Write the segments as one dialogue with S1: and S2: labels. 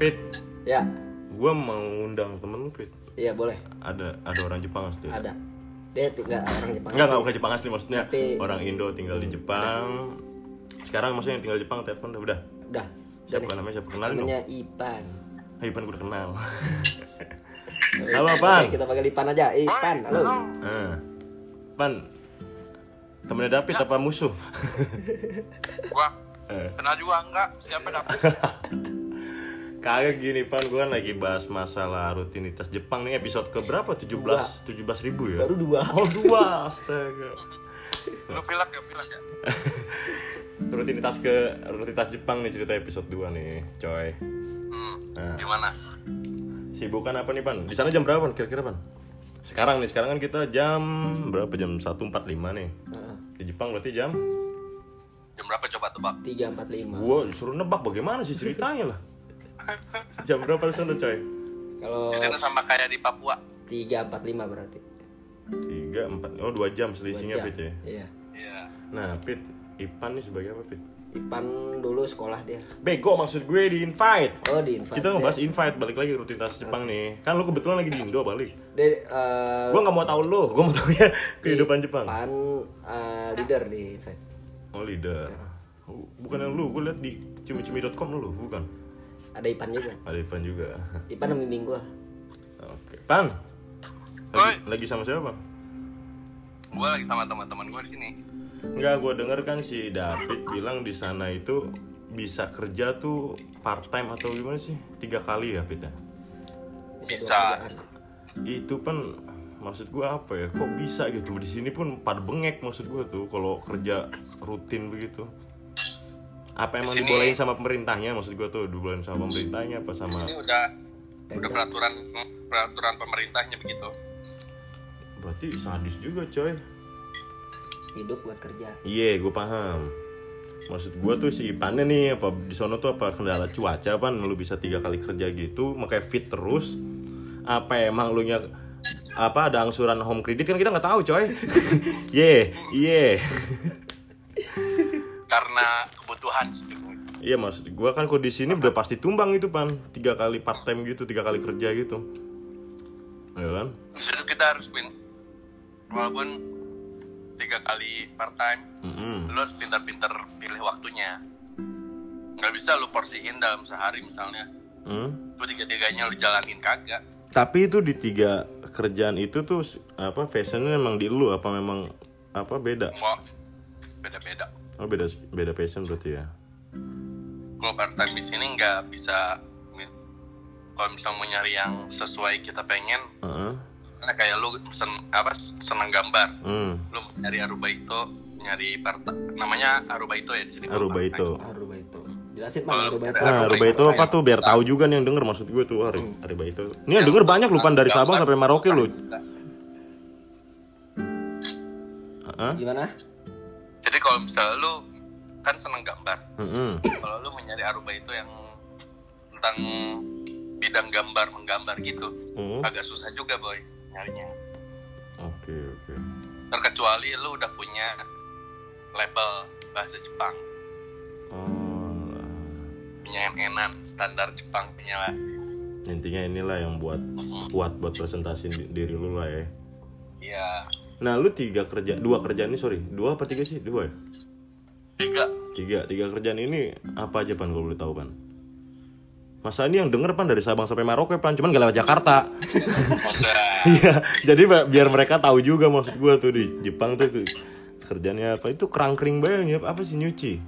S1: Pit,
S2: Ya,
S1: gue mau ngundang temen lu, Pit.
S2: iya boleh.
S1: Ada ada orang Jepang asli.
S2: Ada. Dia tinggal orang Jepang.
S1: Enggak, enggak bukan Jepang asli maksudnya.
S2: Tapi-
S1: Orang Indo tinggal di Jepang. Sekarang maksudnya yang tinggal di Jepang telepon udah.
S2: Udah.
S1: Siapa namanya? Siapa kenalin dong?
S2: Namanya Ipan.
S1: Ayo Ipan gue kenal.
S2: Oke,
S1: Halo, Pan.
S2: Oke, kita panggil Ipan aja. Eh, Ipan, halo.
S1: Ah. Pan. Temennya David apa musuh?
S3: Gua
S1: Eh.
S3: kenal juga enggak siapa dapet
S1: Kagak gini Pan, gue lagi bahas masalah rutinitas Jepang nih episode ke berapa? 17 17 ribu ya?
S2: Baru dua.
S1: Oh dua, astaga
S3: lu pilek ya pilek ya
S1: Rutinitas ke rutinitas Jepang nih cerita episode 2 nih coy
S3: hmm.
S1: Nah.
S3: gimana
S1: Sibukan kan apa nih Pan? Di sana jam berapa Pan? kira-kira Pan? Sekarang nih, sekarang kan kita jam berapa? Jam 1.45 nih
S2: Heeh.
S1: Di Jepang berarti jam?
S3: jam berapa coba tebak
S2: Tiga empat lima.
S1: Gue suruh nebak bagaimana sih ceritanya lah Jam berapa di sana coy?
S2: Kalau
S3: di sana sama kayak di Papua
S2: tiga empat lima berarti.
S1: 3, 4, oh 2 jam
S2: Dua
S1: selisihnya
S2: jam.
S1: Pit ya
S2: Iya.
S3: iya
S1: Nah Pit, Ipan nih sebagai apa Pit?
S2: Ipan dulu sekolah dia.
S1: Bego maksud gue di invite
S2: Oh di invite.
S1: kita ngebahas invite balik lagi rutinitas Jepang nih kan lu kebetulan lagi di Indo balik
S2: Dia, eh,
S1: gua nggak mau tahu lu gua mau tahu ya kehidupan Jepang
S2: Ipan eh, leader di invite.
S1: oh leader Oh, bukan yang lu gua liat di cumi-cumi.com lu bukan
S2: Ada Ipan juga.
S1: ada Ipan juga
S2: Ipan membimbing gua.
S1: oke Pan
S3: Oi.
S1: lagi, lagi sama siapa Pan?
S3: gua lagi sama teman-teman gua di sini
S1: Enggak, gua denger kan si David bilang di sana itu bisa kerja tuh part time atau gimana sih tiga kali ya Pit ya?
S3: Bisa.
S2: dua kerjaan.
S1: itu pun maksud gua apa ya kok bisa gitu di sini pun pada bengek maksud gua tuh kalau kerja rutin begitu apa emang
S3: sini-
S1: dibolehin sama pemerintahnya maksud gua tuh dibolehin sama pemerintahnya apa sama
S3: ini udah udah peraturan hmm, peraturan pemerintahnya begitu
S1: berarti sadis juga coy
S2: Hidup buat kerja.
S1: iya gua paham maksud gua tuh si Ipannya nih apa di sono tuh apa kendala cuaca pan lu bisa tiga kali kerja gitu makanya fit terus apa emang lu nya apa ada angsuran home credit kan kita nggak tahu coy Iya, ye ye
S3: karena kebutuhan sih
S1: Iya mas, gua kan kalau di sini udah pasti tumbang itu pan, tiga kali part time gitu, tiga kali kerja gitu, ya kan?
S3: Di situ kita harus win walaupun tiga kali part time
S1: Mm-mm.
S3: lu harus pintar-pintar pilih waktunya nggak bisa lu porsiin dalam sehari misalnya
S1: Mm.
S3: lu tiga-tiganya lu jalanin kagak
S1: Tapi itu di tiga kerjaan itu tuh s- apa fashionnya emang di lu apa memang apa beda?
S3: mau beda-beda
S1: Oh beda beda fashion berarti ya?
S3: kalau part time di sini nggak bisa mi- kalau misalnya mau nyari yang sesuai kita pengen
S1: Heeh.
S3: nah kayak lu sen- apa senang gambar
S1: Mm.
S3: lu nyari aruba itu nyari part namanya aruba itu ya di sini
S1: Aruba itu.
S2: Aruba itu. Jelasin Pak
S3: Kalau
S2: Aruba itu.
S1: Oh. Nah, Aruba itu apa tuh? Biar tahu juga nih yang denger maksud gue tuh Ari- Aruba itu. Ini Hmm. yang denger banyak lupa dari Sabang sampai Merauke lu. Heeh.
S2: Gimana?
S3: jadi kalau misalnya lu kan seneng gambar
S1: Mm-mm.
S3: kalau lu mau nyari aruba itu yang tentang bidang gambar menggambar gitu
S1: Mm.
S3: agak susah juga boy nyarinya
S1: Oke oke.
S3: terkecuali lu udah punya label bahasa Jepang
S1: Oh. lah.
S3: punya enan standar Jepang punya lah
S1: intinya inilah yang buat kuat buat presentasi di- diri lu lah ya
S3: iya
S1: nah lu tiga kerja dua kerjaan ini sorry dua apa tiga sih dua ya
S3: tiga
S1: tiga tiga kerjaan ini apa aja pan kalau boleh tahu pan masa ini yang denger pan dari Sabang sampai Merauke pan cuman gak lewat Jakarta
S3: udah
S1: iya jadi ba- biar mereka tahu juga maksud gua tuh di Jepang tuh ke- kerjaannya apa itu kerangkering banyak apa sih nyuci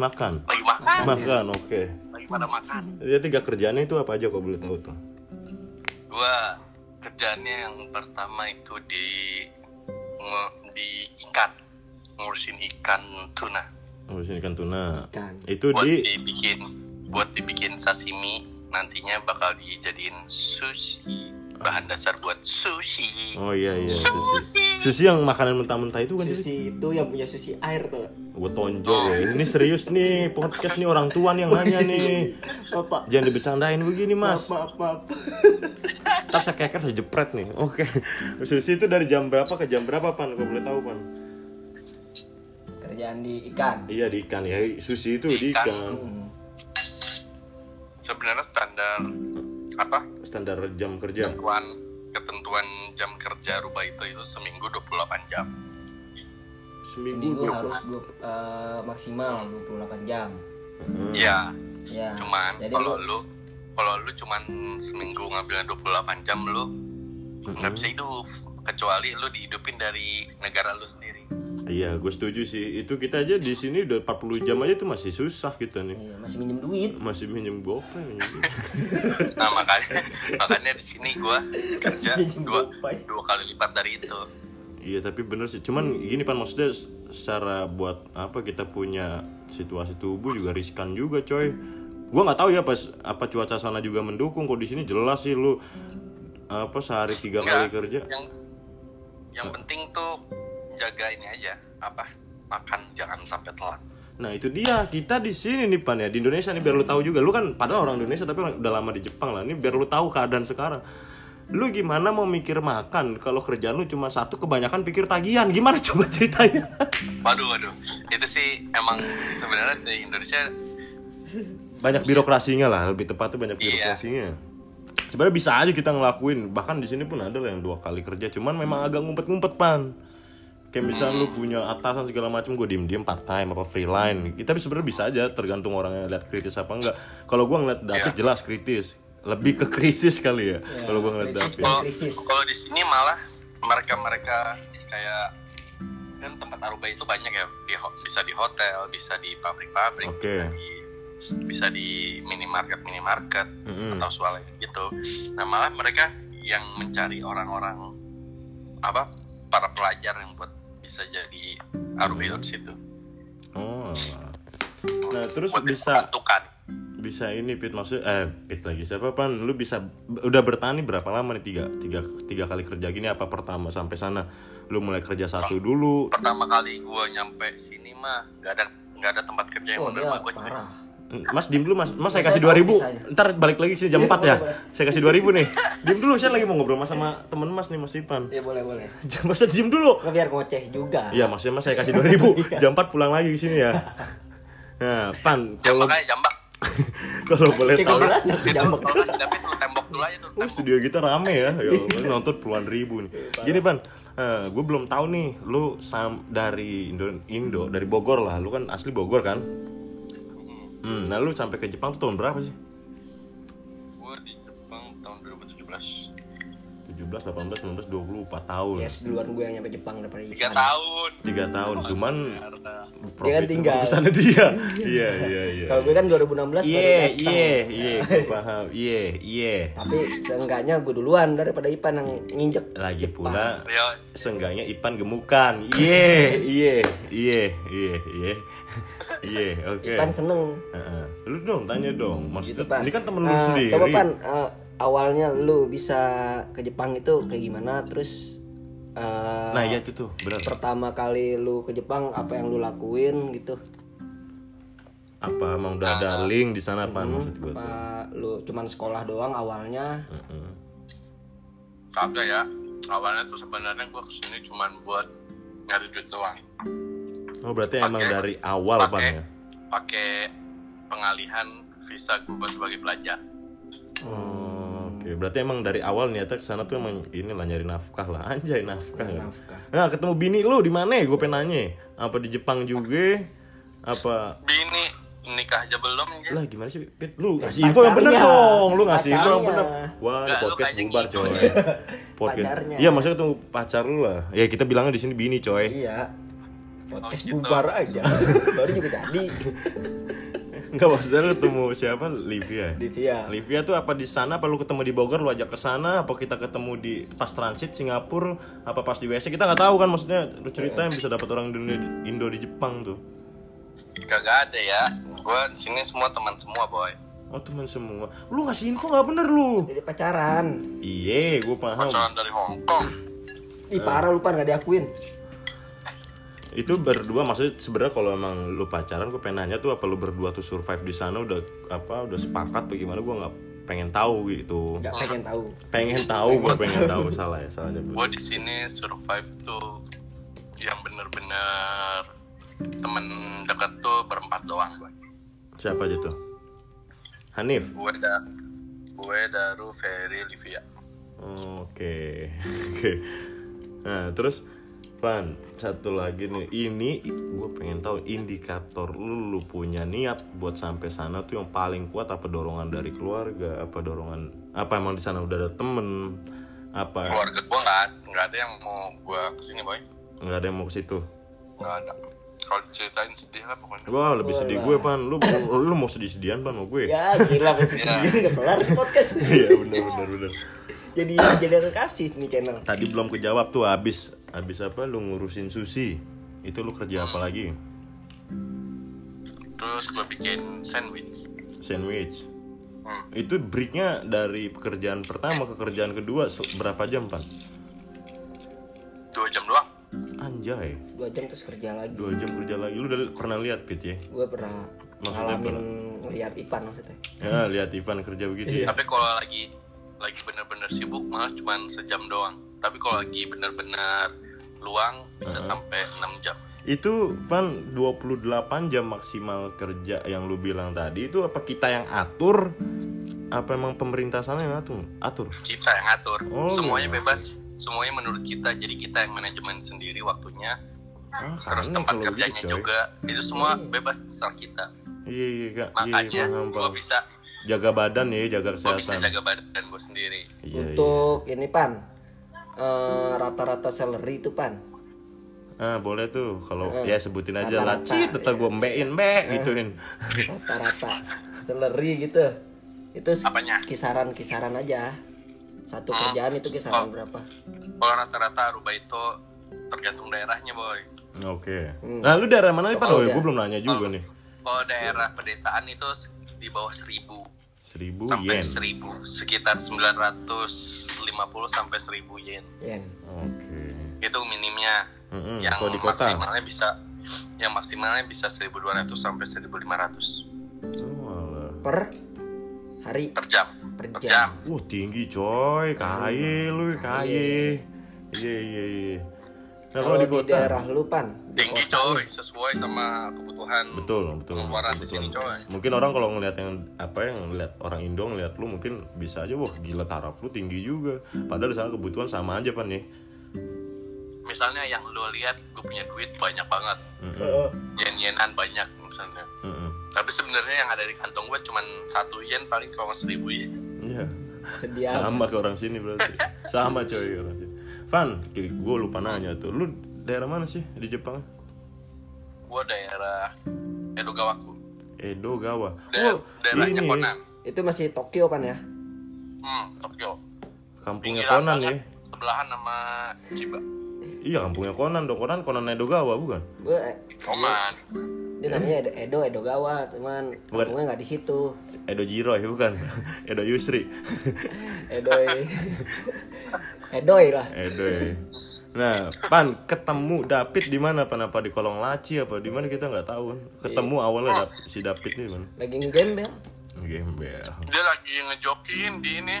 S1: makan
S3: lagi makan
S1: makan oke
S3: lagi pada makan
S1: jadi tiga kerjaannya itu apa aja kalau boleh tahu tuh
S3: gua kerjaannya yang pertama itu di nge- di ikan ngurusin ikan tuna
S1: ngurusin ikan kan tuna
S2: Ikan.
S1: itu
S3: buat
S1: di
S3: dibikin buat dibikin sashimi nantinya bakal dijadiin sushi bahan dasar buat sushi
S1: Oh iya iya sushi. Sushi yang makanan mentah-mentah itu kan sushi.
S2: Susi itu yang punya susi air tuh.
S1: Gue tonjol ya. Ini serius nih podcast nih orang tua nih yang nanya nih.
S2: Apa?
S1: Jangan dibecandain begini
S2: Maaf,
S1: mas.
S2: maaf, maaf.
S1: Ntar saya keker saya jepret nih. Oke. Sushi itu dari jam berapa ke jam berapa pan? Gue boleh tahu pan?
S2: Kerjaan di ikan.
S1: Iya di ikan ya. Sushi itu di
S3: Ikan.
S1: ikan.
S2: Hmm.
S3: sebenarnya standar apa
S1: standar jam kerja
S3: ketentuan ketentuan jam kerja rubah itu itu seminggu 28 jam
S2: Seminggu
S1: seminggu,
S2: harus dua, eh, maksimal 28 jam.
S1: Hmm.
S3: ya
S2: Ya.
S3: cuman
S2: Jadi lu-
S3: kalau lu kalau lu cuman seminggu ngambilnya 28 jam lu
S1: Hmm.
S3: nggak bisa hidup kecuali lu dihidupin dari negara lu sendiri
S1: iya gue setuju sih itu kita aja di sini udah 40 jam aja tuh masih susah kita nih
S2: Iya, masih minjem duit.
S1: masih minjem gopay minjem duit.
S3: nah makanya makanya di sini gua kerja
S2: Kasih
S3: dua
S2: gopay.
S3: dua kali lipat dari itu
S1: iya tapi bener sih cuman gini pan maksudnya s- secara buat apa kita punya situasi tubuh juga riskan juga coy gue nggak tahu ya pas apa cuaca sana juga mendukung kok di sini jelas sih lu apa sehari tiga kali
S3: Enggak,
S1: kerja
S3: yang yang penting tuh jaga ini aja apa makan jangan sampai telat
S1: Nah itu dia kita di sini nih pan ya di Indonesia nih biar lu tahu juga lu kan padahal orang Indonesia tapi orang- udah lama di Jepang lah nih biar lu tahu keadaan sekarang. Lu gimana mau mikir makan kalau kerjaan lu cuma satu kebanyakan pikir tagihan gimana coba ceritanya?
S3: waduh waduh itu sih emang sebenarnya di Indonesia
S1: banyak birokrasinya lah lebih tepatnya banyak
S3: Iya.
S1: birokrasinya. Sebenarnya bisa aja kita ngelakuin bahkan di sini pun ada lah yang dua kali kerja cuman memang agak ngumpet-ngumpet pan. Kayak misalnya lu punya atasan segala macam gue diem-diem part time apa freelance. Kita sebenarnya bisa aja tergantung orangnya lihat kritis apa enggak. Kalau gua ngeliat David jelas kritis. Lebih ke krisis kali ya. Kalau gua ngeliat David.
S2: kritis. Yang
S3: kalau
S2: krisis.
S3: kalau di sini malah mereka mereka kayak kan tempat aruba itu banyak ya di ho- bisa di hotel bisa di pabrik-pabrik
S1: Oke.
S3: bisa di bisa di minimarket minimarket
S1: Mm-mm.
S3: atau swalayan gitu nah malah mereka yang mencari orang-orang apa para pelajar yang buat bisa jadi aruba itu di situ
S1: Oh. Nah, terus
S3: buat
S1: bisa
S3: ditentukan
S1: bisa ini pit maksud eh pit lagi siapa pan lu bisa udah bertani berapa lama nih tiga tiga tiga kali kerja gini apa pertama sampai sana lu mulai kerja satu dulu
S3: pertama kali gue nyampe sini mah nggak ada nggak ada tempat kerja yang
S2: Oh, dia
S3: menerima gue
S2: parah.
S1: mas diem dulu mas mas saya
S2: Saya
S1: kasih
S2: tahu
S1: dua ribu
S2: bisanya.
S1: ntar balik lagi ke sini jam
S2: Iya,
S1: 4 ya
S2: boleh,
S1: saya kasih dua ribu nih diem dulu saya lagi mau ngobrol mas sama temen mas nih mas Ipan
S2: Ya boleh boleh.
S1: mas diem dulu
S2: Nggak biar ngoceh juga.
S1: iya maksudnya mas saya kasih dua ribu
S2: Iya.
S1: jam 4 pulang lagi ke sini ya nah pan kalau
S3: jambak aja Ya, jambak
S1: kalau boleh
S2: Kayak
S1: tahu
S2: gue bilang, jambak.
S3: kalau nggak tapi lu tembok dulu aja tuh
S1: Oh, studio kita rame ya, ya
S2: Iya.
S1: Allah, nonton puluhan ribu nih. Gini pan, gue belum tahu nih, lu sam dari Indo, Indo, dari Bogor lah, lu kan asli Bogor kan? Hmm, nah lu sampai ke Jepang tuh tahun berapa sih?
S3: gue di Jepang tahun 2017
S1: 17, 18, 19, 24 tahun.
S2: Yes, duluan gue yang nyampe Jepang daripada
S3: tiga
S2: Ipan.
S3: tahun
S1: Tiga tahun, cuman
S2: Dia kan tinggal.
S1: sana dia. Iya, iya, iya.
S2: Kalau gue kan 2016 baru
S1: Iya,
S2: datang.
S1: iya, iya, gue paham. Iya, iya.
S2: Tapi seenggaknya gue duluan daripada Ipan yang nginjek.
S1: Lagi pula
S3: ya
S1: Seenggaknya Ipan gemukan. Iya,
S2: Iya.
S1: Iye, iye, iye, iye, iye. Iye, iya, oke.
S2: Ipan seneng.
S1: Heeh. Lu dong tanya dong. Maksudnya
S2: Gitu, Pan.
S1: ini kan temen lu
S2: Eh,
S1: sendiri.
S2: Coba Pan, eh, awalnya lu bisa ke Jepang itu kayak gimana? Terus eh,
S1: Nah, ya itu tuh, benar.
S2: pertama kali lu ke Jepang apa yang lu lakuin gitu?
S1: Apa emang udah ada
S2: Ah.
S1: link di sana,
S2: Hmm.
S1: Pan? Maksud gua tuh.
S2: Apa lu cuman sekolah doang awalnya?
S1: Heeh.
S3: kagak ya awalnya tuh sebenarnya gue kesini cuma buat nyari duit doang
S1: Oh, berarti emang
S3: Pakai-
S1: dari awal, Pan
S3: pakai
S1: ya.
S3: pakai pengalihan visa gue sebagai pelajar
S1: Oh, Oke, berarti emang dari awal niatnya ke sana tuh emang inilah nyari nafkah lah, anjay nafkah. ya.
S2: Nafkah.
S1: Nah, ketemu bini lu di mana? Gue pengen nanya. Apa di Jepang juga? Apa
S3: bini nikah aja belum ya
S1: lah gimana sih Pit? lu ngasih info yang bener
S2: Eh, pacarnya.
S1: dong lu ngasih info yang bener
S2: Pacarnya.
S1: wah ini
S3: Nggak, lu
S1: podcast
S3: kayaknya
S1: bubar
S3: gitu
S1: coy
S3: deh.
S1: podcast
S2: Pacarnya.
S1: iya maksudnya tuh pacar lu lah ya kita bilangnya di sini bini coy
S2: Iya. Podcast
S3: Oh, gitu.
S2: bubar aja. Baru juga jadi.
S1: nggak maksudnya lu ketemu siapa Livia
S2: Divya.
S1: Livia tuh apa di sana apa lu ketemu di Bogor lu ajak ke sana apa kita ketemu di pas transit Singapura apa pas di WC kita nggak tahu kan maksudnya lu cerita yang bisa dapat orang Indo, Indo di Jepang tuh
S3: kagak ada ya gue di sini semua teman semua boy
S1: oh teman semua lu ngasih info nggak bener lu
S2: Jadi pacaran.
S1: iye gue paham
S3: pacaran dari Hong Kong
S1: Eh.
S2: Ih parah lupa nggak diakuin.
S1: itu berdua maksudnya sebenarnya kalau emang lu pacaran gue pengen nanya tuh apa lu berdua tuh survive di sana udah apa udah sepakat bagaimana gue nggak pengen tahu gitu
S2: Nggak pengen tahu.
S1: pengen tahu gue pengen tahu salah ya salah nyebut
S3: gue di sini survive tuh yang bener-bener temen deket tuh berempat doang gue
S1: siapa aja tuh Hanif
S3: gue da gue Daru Ferry Livia
S1: Oh, Oke, oke. Nah, terus Ran, satu lagi nih. Ini gue pengen tahu indikator lu, lu punya niat buat sampai sana tuh yang paling kuat apa dorongan dari keluarga, apa dorongan apa emang di sana udah ada temen, apa
S3: keluarga gue nggak nggak ada yang mau gue kesini boy
S1: nggak ada yang mau ke situ.
S3: nggak ada kalau diceritain sedih lah pokoknya
S1: Wah lebih sedih gue pan, lu lu mau sedih sedihan pan sama gue?
S2: ya gila kan
S3: Iya.
S2: sendiri udah kelar nih podcast
S1: Iya benar benar benar.
S2: jadi jadi kasih nih channel
S1: Tadi belum kejawab tuh abis abis apa lu ngurusin sushi itu lu kerja apa lagi?
S3: terus gue bikin sandwich
S1: Sandwich.
S3: hmm.
S1: Itu breaknya dari pekerjaan pertama ke kerjaan kedua se- berapa jam pan?
S3: dua jam doang
S1: Anjay,
S2: dua jam terus kerja lagi
S1: dua jam kerja lagi. Lu udah pernah lihat Pit ya?
S2: gue pernah
S1: Maksudnya
S2: ngalamin ngeliat Ipan maksudnya
S1: Ya lihat Ivan kerja begitu ya.
S3: tapi kalau lagi lagi bener-bener sibuk malah cuman sejam doang tapi kalau lagi bener-bener luang bisa sampai 6 jam
S1: Itu Van 28 jam maksimal kerja yang lu bilang tadi itu apa kita yang atur? Apa emang pemerintah sana yang atur? Atur.
S3: kita yang ngatur
S1: Oh.
S3: semuanya bebas semuanya menurut kita jadi kita yang manajemen sendiri waktunya
S1: Ah,
S3: terus
S1: aneh
S3: tempat
S1: kalau gitu,
S3: kerjanya
S1: coy.
S3: juga itu semua bebas terserah kita
S1: Iya iya Kak. Iya,
S3: makanya
S1: paham,
S3: gua
S1: paham.
S3: bisa
S1: Jaga badan ya, jaga
S3: gua bisa
S1: kesehatan.
S3: jaga badan gue sendiri
S1: Iya, iya.
S2: untuk ini Pan eh, rata-rata salary itu Pan
S1: Ah, boleh tuh kalau
S2: Heeh.
S1: ya sebutin aja
S2: Rata-rata,
S1: laci tetap
S2: iya.
S1: gue embein
S2: Eh.
S1: mbek gituin.
S2: rata-rata salary gitu itu s-
S3: Apanya?
S2: kisaran-kisaran
S1: Oh.
S2: aja satu
S3: Hmm.
S2: kerjaan itu kisaran berapa
S3: kalau rata-rata Aruba itu tergantung daerahnya boy
S1: Oke.
S2: Hmm.
S1: Nah, lu daerah mana nih, Pak? Oh,
S2: Oh, iya.
S1: gue belum nanya juga nih.
S3: kalau daerah pedesaan itu se- di bawah 1000
S1: Seribu
S3: sampai
S1: yen.
S3: 1000 sekitar 950 sampai 1000 yen
S2: Yen
S1: Oke.
S3: itu minimnya
S1: Mm-mm,
S3: yang
S1: kalau di kota.
S3: maksimalnya bisa yang maksimalnya bisa 1200 sampai 1500
S1: Oh, alah.
S2: per hari
S3: per jam
S2: per
S3: per jam
S2: jam
S1: Wah, tinggi coy, kaya lu, kaya. Iya, iya, iya. Nah, kalau di kota.
S2: daerah lu Pan di
S3: tinggi
S2: kota
S3: coy
S2: nih,
S3: sesuai sama kebutuhan
S1: Betul, betul.
S3: pengeluaran di
S1: betul.
S3: sini coy
S1: Mungkin orang kalau ngelihat yang apa yang ngelihat orang Indo ngelihat lu mungkin bisa aja wah gila taraf lu tinggi juga. Padahal di sana kebutuhan sama aja pan ya. nih.
S3: misalnya yang lu lihat gue punya duit banyak banget
S2: Oh,
S1: Mm-mm,
S3: yen-yenan banyak misalnya
S1: mm-mm.
S3: tapi sebenarnya yang ada di kantong gue cuman satu yen paling kalau nggak seribu yen
S1: Iya.
S2: sedia
S1: Sama ke orang sini berarti. Sama coy orang sini. Van, gue lupa nanya tuh. Lu daerah mana sih di Jepang?
S3: gue daerah Edogawaku
S1: Edo Gawa.
S3: daerah daerahnya
S1: Oh, ini
S3: Konan
S2: itu masih Tokyo Pan ya
S3: hmm, Tokyo
S1: kampungnya
S3: Pinggiran
S1: Konan ya.
S3: banget, sebelahan sama Chiba
S1: Iya, kampungnya Konan dong. Konan Konan Edo Gawa bukan?
S2: gue
S3: Koman
S2: eh, dia namanya Edo- Edo Edogawa cuman
S1: Hmm. Bukan.
S2: kampungnya nggak di situ
S1: Edo Jiro ya bukan? Edo Yusri.
S2: Edoi Edoi lah
S1: Edo. ya. Nah, Pan ketemu David di mana? Pan apa di kolong laci apa di mana kita nggak tahu. Ketemu
S2: Nah.
S1: awalnya Dap- si David ini di mana?
S2: lagi ngegame Bel
S1: Gembel.
S3: dia lagi ngejokin di ini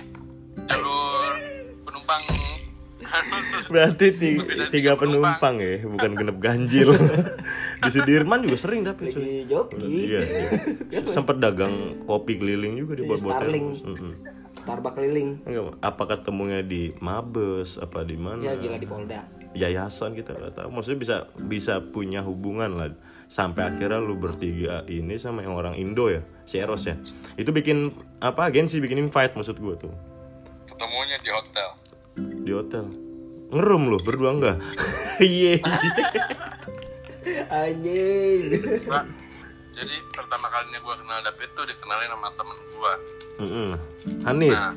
S3: jalur penumpang
S1: Berarti ti-
S3: Lebih dari
S1: tiga
S3: tiga
S1: penumpang ya, bukan genep ganjil. di Sudirman juga sering David.
S2: lagi
S1: sering.
S2: joki
S1: Iya, iya. Sempat dagang kopi keliling juga di
S2: Di
S1: buat buat
S2: Starling. Starbucks keliling
S1: Apa ketemunya di Mabes apa di mana?
S2: ya gila di Polda
S1: yayasan kita nggak tahu maksudnya bisa bisa punya hubungan lah sampai akhirnya lu bertiga ini sama yang orang Indo ya si Eros ya itu bikin apa agensi bikin invite maksud gua tuh
S3: ketemunya di hotel
S1: di hotel ngerum lu berdua enggak iya
S2: anjing
S3: Nah, jadi pertama kalinya gue kenal David tuh dikenalin sama temen gue.
S1: Mm-mm. Hanif
S3: Nah,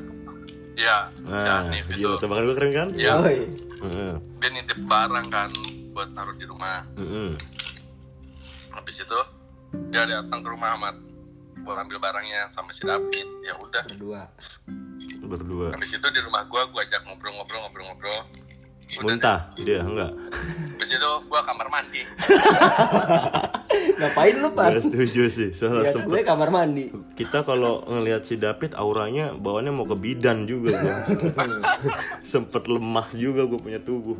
S3: ya, si
S1: nah
S3: Hanif itu.
S1: gila tebakan gua keren kan
S3: Ya,
S2: Oi.
S1: Mm-mm.
S3: dia nitip barang kan buat taruh di rumah.
S1: Mm-mm.
S3: Habis itu dia datang ke rumah Ahmad buat ambil barangnya sama si David. Ya udah.
S2: berdua
S1: berdua
S3: Habis itu di rumah gue, gue ajak ngobrol-ngobrol, ngobrol-ngobrol. Udah. deh.
S1: muntah dia enggak
S3: Habis itu gue kamar mandi.
S2: ngapain lu pan
S1: Gua setuju sih soalnya
S2: lihat
S1: sempet
S2: gue kamar mandi
S1: kita kalau ngelihat si David auranya bawaannya mau ke bidan juga gua. sempet lemah juga gue punya tubuh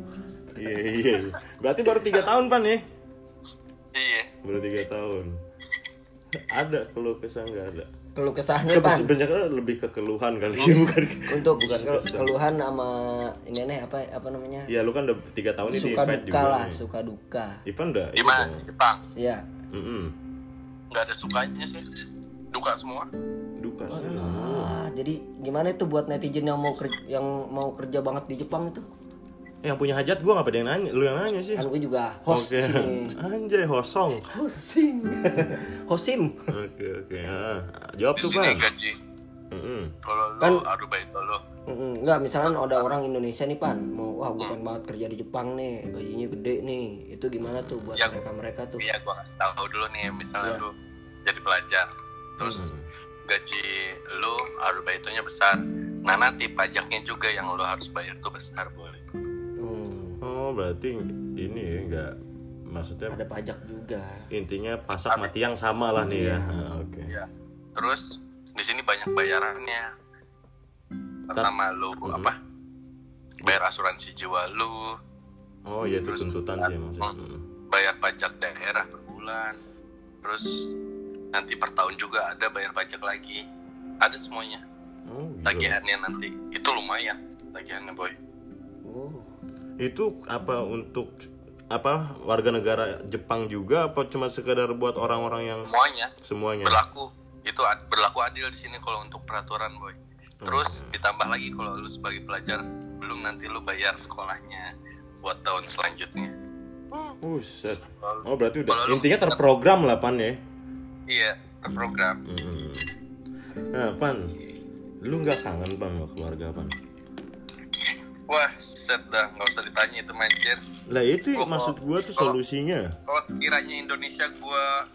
S1: iya iya berarti baru tiga tahun pan ya
S3: Iya.
S1: baru tiga tahun ada keluh kesah nggak ada
S2: Keluh kesahnya
S1: tapi
S2: bang
S1: sebenarnya kan lebih ke keluhan kali ya bukan ke-
S2: untuk
S1: bukan
S2: kel-
S1: kesah.
S2: keluhan sama ini aneh apa apa namanya
S1: ya lu kan udah tiga tahun ini di
S2: suka
S1: Ivan
S2: duka
S1: juga
S2: lah
S1: nih.
S2: suka duka
S1: Ivan udah itu
S3: Gimana
S1: dong.
S3: di Jepang?
S2: ya
S1: Mm-mm.
S3: Nggak ada sukanya sih. Duka semua.
S1: duka sih
S2: Ah, jadi gimana itu buat netizen yang mau kerja, yang mau kerja banget di Jepang itu
S1: yang punya hajat gua nggak pada yang nanya lu yang nanya sih
S2: kan gue juga host
S1: Oke.
S2: sini
S1: anjay hosong
S2: hosting hosim
S1: oke oke ah, jawab
S3: Di
S1: tuh
S3: sini kan
S1: bang
S3: gaji.
S1: Mm-mm.
S3: Kalau lu
S2: ya? Kan-
S3: aduh baik lu.
S2: Mm-mm, Enggak, misalnya ada orang Indonesia nih Pan mau wah gue pengen banget kerja di Jepang nih gajinya gede nih itu gimana tuh buat
S3: Ya.
S2: mereka mereka tuh
S3: Iya gua kasih tahu dulu nih
S2: Iya. Hmm.
S3: misalnya lu jadi pelajar. Terus gaji lu arubaitunya besar. Nah nanti pajaknya juga yang lu harus bayar tuh besar boleh.
S2: Hmm,
S1: oh berarti ini ya nggak maksudnya
S2: ada pajak juga
S1: intinya pasak mati yang sama lah nih ya Ah, oke
S3: Iya. Terus di sini banyak bayarannya. Pertama lu
S2: Hmm.
S1: Mhm.
S3: apa? Bayar asuransi jiwa lu,
S1: oh iya itu
S3: Terus- kan
S1: tuntutan sih maksudnya
S3: Iya.
S1: Mm.
S3: bayar pajak daerah per bulan. Terus nanti per tahun juga ada bayar pajak lagi. Ada semuanya.
S1: oh, gitu.
S3: Tagihannya nanti itu lumayan tagihannya boy.
S2: oh
S1: itu apa untuk apa warga negara Jepang juga apa cuma sekedar buat orang-orang yang
S3: Semuanya
S1: semuanya
S3: berlaku. Itu ad- berlaku adil di sini kalau untuk peraturan boy. Terus ditambah lagi kalau lu sebagai pelajar belum nanti lu bayar sekolahnya buat tahun selanjutnya.
S1: Buset. oh berarti udah
S3: Kalau lu-
S1: intinya terprogram lah pan ya
S3: Iya, program.
S1: Mm. nah pan lu nggak kangen bang sama keluarga pan
S3: Wah, set dah, nggak usah ditanya itu manjir.
S1: lah itu
S3: Oh,
S1: maksud gua tuh
S3: kalau-
S1: solusinya
S3: Kalau Oh, kiranya Indonesia gua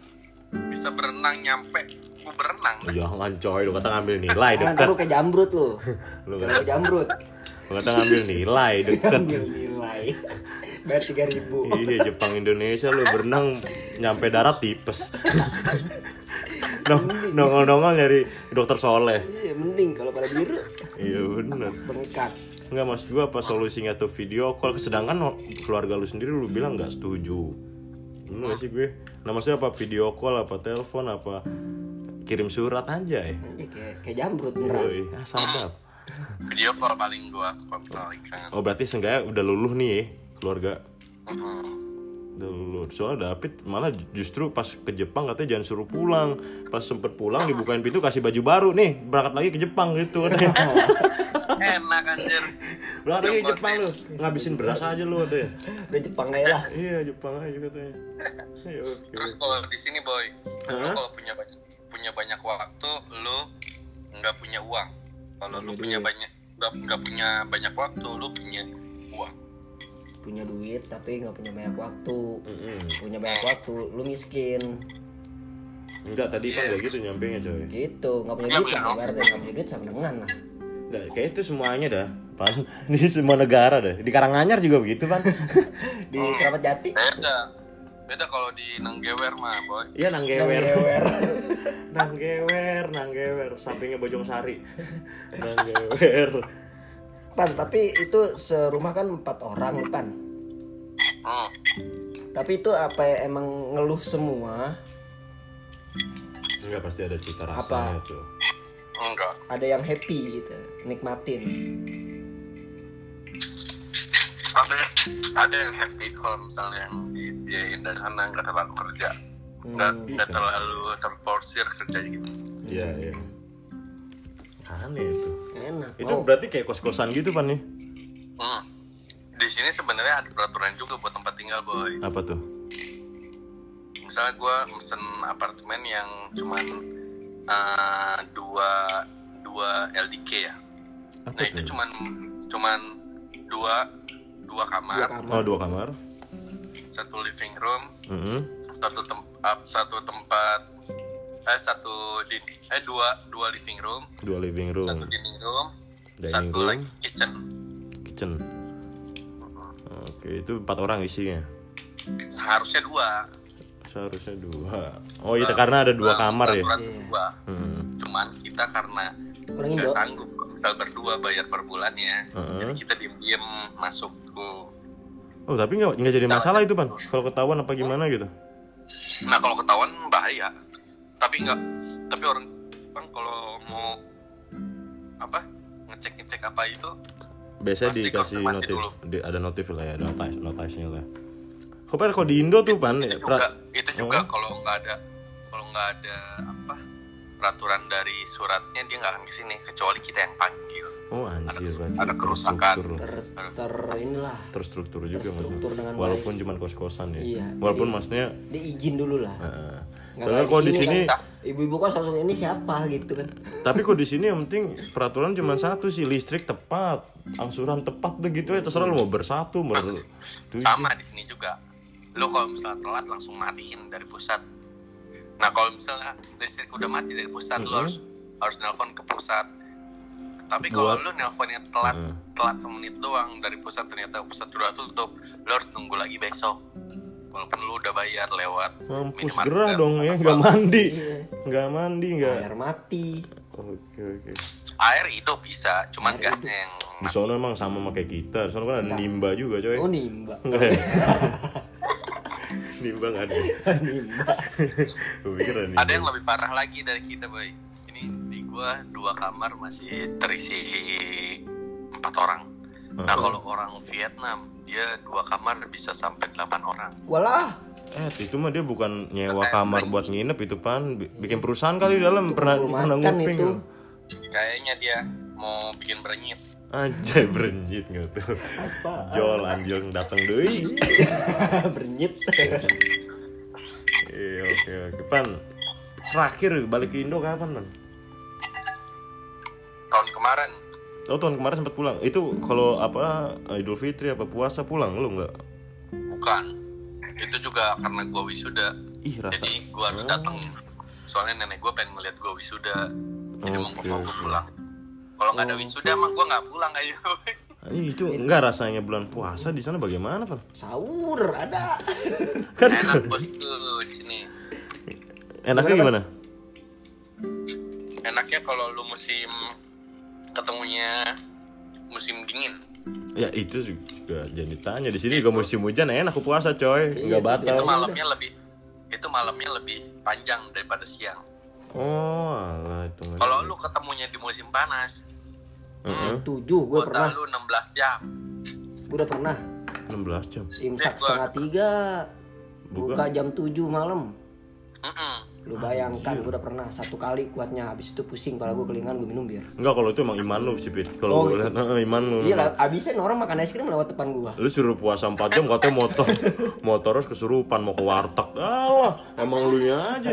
S3: bisa berenang nyampe, gua berenang. dah.
S1: jangan coy Iya, lu kata ngambil nilai
S2: Nah,
S1: deket
S2: ntar lu kayak jamrut lu
S1: Lu
S2: lu kayak jamrut
S1: lu kata ngambil nilai deket
S2: ambil nilai bayar tiga ribu
S1: Iya Jepang Indonesia lu berenang nyampe darat tipes. Nong- Nongol-nongol nyari dokter soleh.
S2: iya mending kalau pada biru
S1: Iya bener.
S2: pengikat
S1: Nggak mas gua apa solusinya tuh video call sedangkan no- keluarga lu sendiri lu bilang nggak setuju. Bener nggak sih gue? Nah maksudnya apa video call apa telepon apa kirim surat aja ya.
S2: Anjir, kayak kayak jamrut beneran
S1: Yoi, ah sadap.
S3: Video call paling gua kalau misalnya lagi kangen.
S1: Oh berarti seenggaknya udah luluh nih ya keluarga.
S3: Mhm.
S1: Udah lulus. Soalnya David malah ju- justru pas ke Jepang katanya jangan suruh pulang. Pas sempet pulang dibukain pintu kasih baju baru nih berangkat lagi ke Jepang gitu katanya.
S3: Enak anjir.
S1: lu ada ke Jepang lu ngabisin beras aja lu ada. ya?
S2: udah Jepang aja lah
S1: Iya Jepang aja katanya. Ya, oke.
S3: Terus kalau di sini boy, lu
S1: Hah?
S3: kalau punya banyak punya banyak waktu, lu nggak punya uang. Kalau lu punya banyak nggak nggak punya banyak waktu, lu punya uang.
S2: punya duit tapi nggak punya banyak waktu
S1: Mm-mm.
S2: punya banyak waktu lu miskin
S1: Enggak tadi kan
S3: Yes.
S1: nggak gitu nyampenya coy.
S2: gitu nggak punya
S3: Iya,
S2: duit lah
S3: bener.
S2: ibaratnya nggak punya duit sama dengan lah
S1: Nah, kayak itu semuanya dah. Pan. Di semua negara dah. Di Karanganyar juga begitu pan.
S2: di keramat jati
S3: Beda. Beda kalau di Nenggewer mah boy.
S1: Iya nanggewer.
S2: Nanggewer.
S1: nanggewer, nanggewer. Sampingnya Bojong Sari. Nanggewer.
S2: pan tapi itu serumah kan empat orang nih, pan
S3: Hmm.
S2: tapi itu apa ya, emang ngeluh semua
S1: Enggak pasti ada cita rasanya tuh.
S3: Enggak.
S2: ada yang happy gitu nikmatin
S3: ada ada yang happy kalau misalnya yang di biayain dari sana nggak terlalu kerja nggak
S2: Hmm.
S3: nggak terlalu terforsir kerja gitu
S1: Iya, iya. Aneh itu.
S2: enak
S1: Itu
S2: mau
S1: berarti kayak kos-kosan gitu pan nih.
S3: hmm. di sini sebenarnya ada peraturan juga buat tempat tinggal boy
S1: Apa tuh?
S3: misalnya gua mesen apartemen yang cuman eh, dua dua LDK ya
S1: Apa
S3: nah itu
S1: tuh?
S3: cuman cuman dua dua
S2: dua
S3: kamar
S1: Oh,
S2: kamar
S1: dua kamar.
S3: satu living room
S1: Mm-mm.
S3: satu tempat satu tempat eh satu din eh dua dua living room
S1: Dua living
S3: satu
S1: room,
S3: dining room
S1: Dining
S3: satu
S1: room.
S3: lagi kitchen
S1: kitchen. Oke, itu empat orang isinya.
S3: seharusnya dua
S1: Seharusnya dua. Oh iya, karena ada dua kamar ya.
S3: Nah, Peraturan
S2: Iya.
S3: dua
S1: Mm.
S3: cuman kita karena
S2: orang
S3: nggak
S2: Indo
S3: sanggup kita berdua bayar per bulannya
S1: Heeh.
S3: jadi kita diem diem masuk tuh
S1: Oh tapi nggak nggak jadi masalah itu pan? Kalau ketahuan apa gimana gitu?
S3: nah kalau ketahuan bahaya tapi nggak tapi orang Jepang kalau mau apa ngecek ngecek apa itu
S1: biasanya
S3: Pasti
S1: dikasih
S3: konfirmasi
S1: notif
S3: dulu.
S1: di- ada notif lah ya notis notisnya lah Hoper kalau di Indo tuh pan ya, Iya,
S3: itu juga
S1: pra-
S3: itu juga
S1: Hmm.
S3: kalau nggak ada kalau nggak ada apa peraturan dari suratnya dia nggak akan kesini kecuali kita yang panggil
S1: oh anjir berarti
S3: ada kerusakan.
S1: terstruktur.
S2: ter ter inilah
S1: terstruktur juga
S2: Terstruktur
S1: maksudnya.
S2: dengan baik.
S1: walaupun cuman kos-kosan ya
S2: Iya,
S1: walaupun
S2: jadi-
S1: maksudnya
S2: dia izin dulu lah
S1: eh,
S2: Nggak
S1: soalnya
S2: kayak
S1: kalau di sini
S2: kan, ibu-ibu kos langsung ini siapa gitu kan
S1: tapi kalau di sini yang penting peraturan cuma satu sih listrik tepat angsuran tepat deh gitu ya terserah lo mau bersatu mau ber- tujuh.
S3: sama di sini juga lo kalau misalnya telat langsung matiin dari pusat nah kalau misalnya listrik udah mati dari pusat lo
S1: Mhm.
S3: harus harus nelpon ke pusat tapi kalau
S1: Buat-
S3: lo nelponnya telat
S1: Heeh.
S3: telat semenit doang dari pusat ternyata pusat udah tutup lo harus nunggu lagi besok walaupun lo udah bayar lewat
S1: mampus
S3: minimarket
S1: gerah
S3: atau
S1: dong ya
S3: apa.
S1: nggak mandi
S2: Iya.
S1: nggak mandi nggak
S2: air mati
S1: oke oke
S3: air hidup bisa cuman
S2: Air
S3: gasnya yang
S1: di sono emang sama pakai kita di sono kan ada nimba juga coy
S2: oh nimba
S1: Nggak ya? nimba nggak ada
S2: nimba
S1: gue pikir ada nimba
S3: ada yang lebih parah lagi dari kita boy ini di gua dua kamar masih terisi empat orang nah
S1: Heeh.
S3: kalau orang Vietnam dia dua kamar bisa sampai delapan orang
S2: walah
S1: Eh, itu mah dia bukan nyewa
S3: Kayak
S1: kamar
S3: beli.
S1: buat nginep itu pan, Bi- bikin perusahaan kali di dalam pernah
S2: kumpul
S1: pernah
S2: makan
S1: nguping.
S2: itu.
S3: kayaknya dia mau bikin berenyit
S1: Anjay berenjit nggak tuh. Jol anjing datang deui.
S2: bernyit
S1: Iya oke oke pan. Terakhir balik ke Indo kapan pan?
S3: tahun kemarin
S1: Oh tahun kemarin sempat pulang. Itu kalau apa Idul Fitri apa puasa pulang lu nggak?
S3: bukan itu juga karena gua wisuda
S1: Ih rasa.
S3: jadi gua harus datang soalnya nenek gua pengen ngeliat gua wisuda jadi mau
S1: Oke,
S3: mau gua
S1: oke.
S3: pulang kalau nggak ada
S1: Oh.
S3: wisuda mah gua nggak pulang ayo
S1: Ih, itu enggak rasanya bulan puasa di sana bagaimana pan?
S2: sahur ada
S1: Kan
S3: enak bos tuh di sini
S1: enaknya gimana?
S3: enaknya kalau lu musim ketemunya musim dingin
S1: Ya itu juga jadi tanya di sini juga musim hujan enak aku puasa coy, nggak batal.
S3: itu malamnya lebih itu malamnya lebih panjang daripada siang
S1: Oh, alah itu nggak-
S3: kalau lu ketemunya di musim panas
S1: Heeh,
S2: tujuh gue
S3: kota
S2: pernah
S3: lu 16 jam
S2: gue udah pernah
S1: 16 jam.
S2: imsak
S3: Eh, gua-
S2: setengah tiga
S1: Buka. Ah,
S2: buka jam tujuh malam
S3: Mm-mm.
S1: Uh.
S2: lu bayangkan gue udah pernah satu kali kuatnya habis itu pusing kepala
S1: Hmm.
S2: gue kelingan gue minum bir
S1: Enggak kalau itu emang iman lu sih, Pit.
S2: Oh,
S1: Kalau gue
S2: gitu.
S1: lihat heeh, iman lu.
S2: iya lah abisin orang makan es krim lewat depan gue
S1: Lu suruh puasa 4 jam katanya motor motor harus kesurupan mau ke warteg. Allah, emang lu nya aja.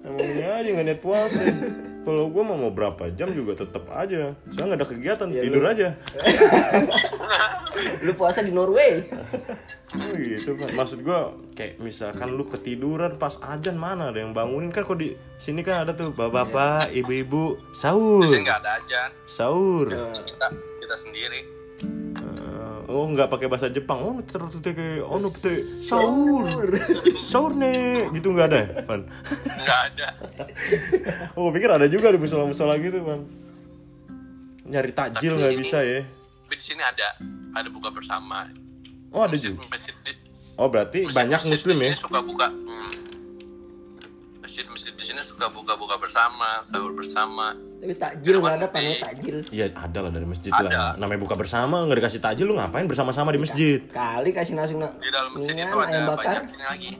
S1: Emang lu nya aja nggak niat puasa. Kalau gua mau mau berapa jam juga tetap aja. Soalnya nggak ada kegiatan, tidur aja.
S2: lu puasa di Norway
S1: Oh, gitu Pak. Maksud gua kayak misalkan lu ketiduran pas ajan mana ada yang bangunin kan kok di sini kan ada tuh bapak-bapak, ibu-ibu sahur.
S3: terusnya Iya. nggak Iya. ada ajan
S1: Sahur.
S3: kita kita sendiri
S1: Eh, oh nggak pakai bahasa Jepang oh terus ke oh nu pete sahur sahur nih gitu nggak ada ya, pan
S3: nggak ada
S1: oh gua pikir ada juga di musola musola gitu pan nyari takjil
S3: Tapi
S1: nggak
S3: ini-
S1: bisa ya
S3: tapi di sini ada ada buka bersama
S1: oh ada
S3: Masjid-
S1: juga
S3: masjid di-
S1: oh berarti
S3: Masjid-
S1: banyak
S3: masjid
S1: muslim
S3: di
S1: ya
S3: sini suka buka hmm. masjid-masjid di sini suka buka-buka bersama sahur bersama
S2: tapi takjil nggak ada panen takjil
S1: Iya ada lah dari masjid
S3: Ada. Iya.
S1: lah Namanya buka bersama nggak dikasih takjil lu ngapain bersama-sama di masjid
S2: kali kasih langsung nak
S3: di dalam masjid
S2: Mendingan
S1: Iya,
S3: itu ada
S2: ayam bakar
S3: banyak ini lagi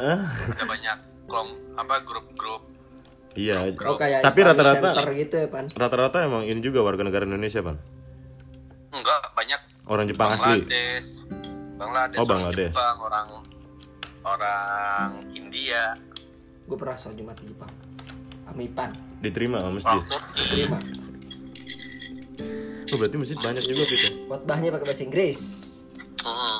S1: Ah,
S3: ada banyak kelom apa grup-grup
S1: Iya
S2: oh kayak
S1: Tapi
S2: Islamic
S1: rata-rata
S2: center gitu ya pan
S1: Rata-rata emang ini juga warga negara Indonesia pan
S3: enggak banyak
S1: Orang Jepang asli
S3: Bangladesh Bangladesh,
S1: Oh,
S3: orang
S1: Bangladesh.
S3: Jepang, orang orang
S1: Iya.
S3: India
S2: gue pernah sholat jumat di Jepang sama Ipan
S1: Diterima sama
S3: orang
S1: masjid
S3: Turki
S2: terima
S1: Oh berarti masjid banyak juga gitu
S2: khotbahnya pakai bahasa Inggris
S3: Mm-mm.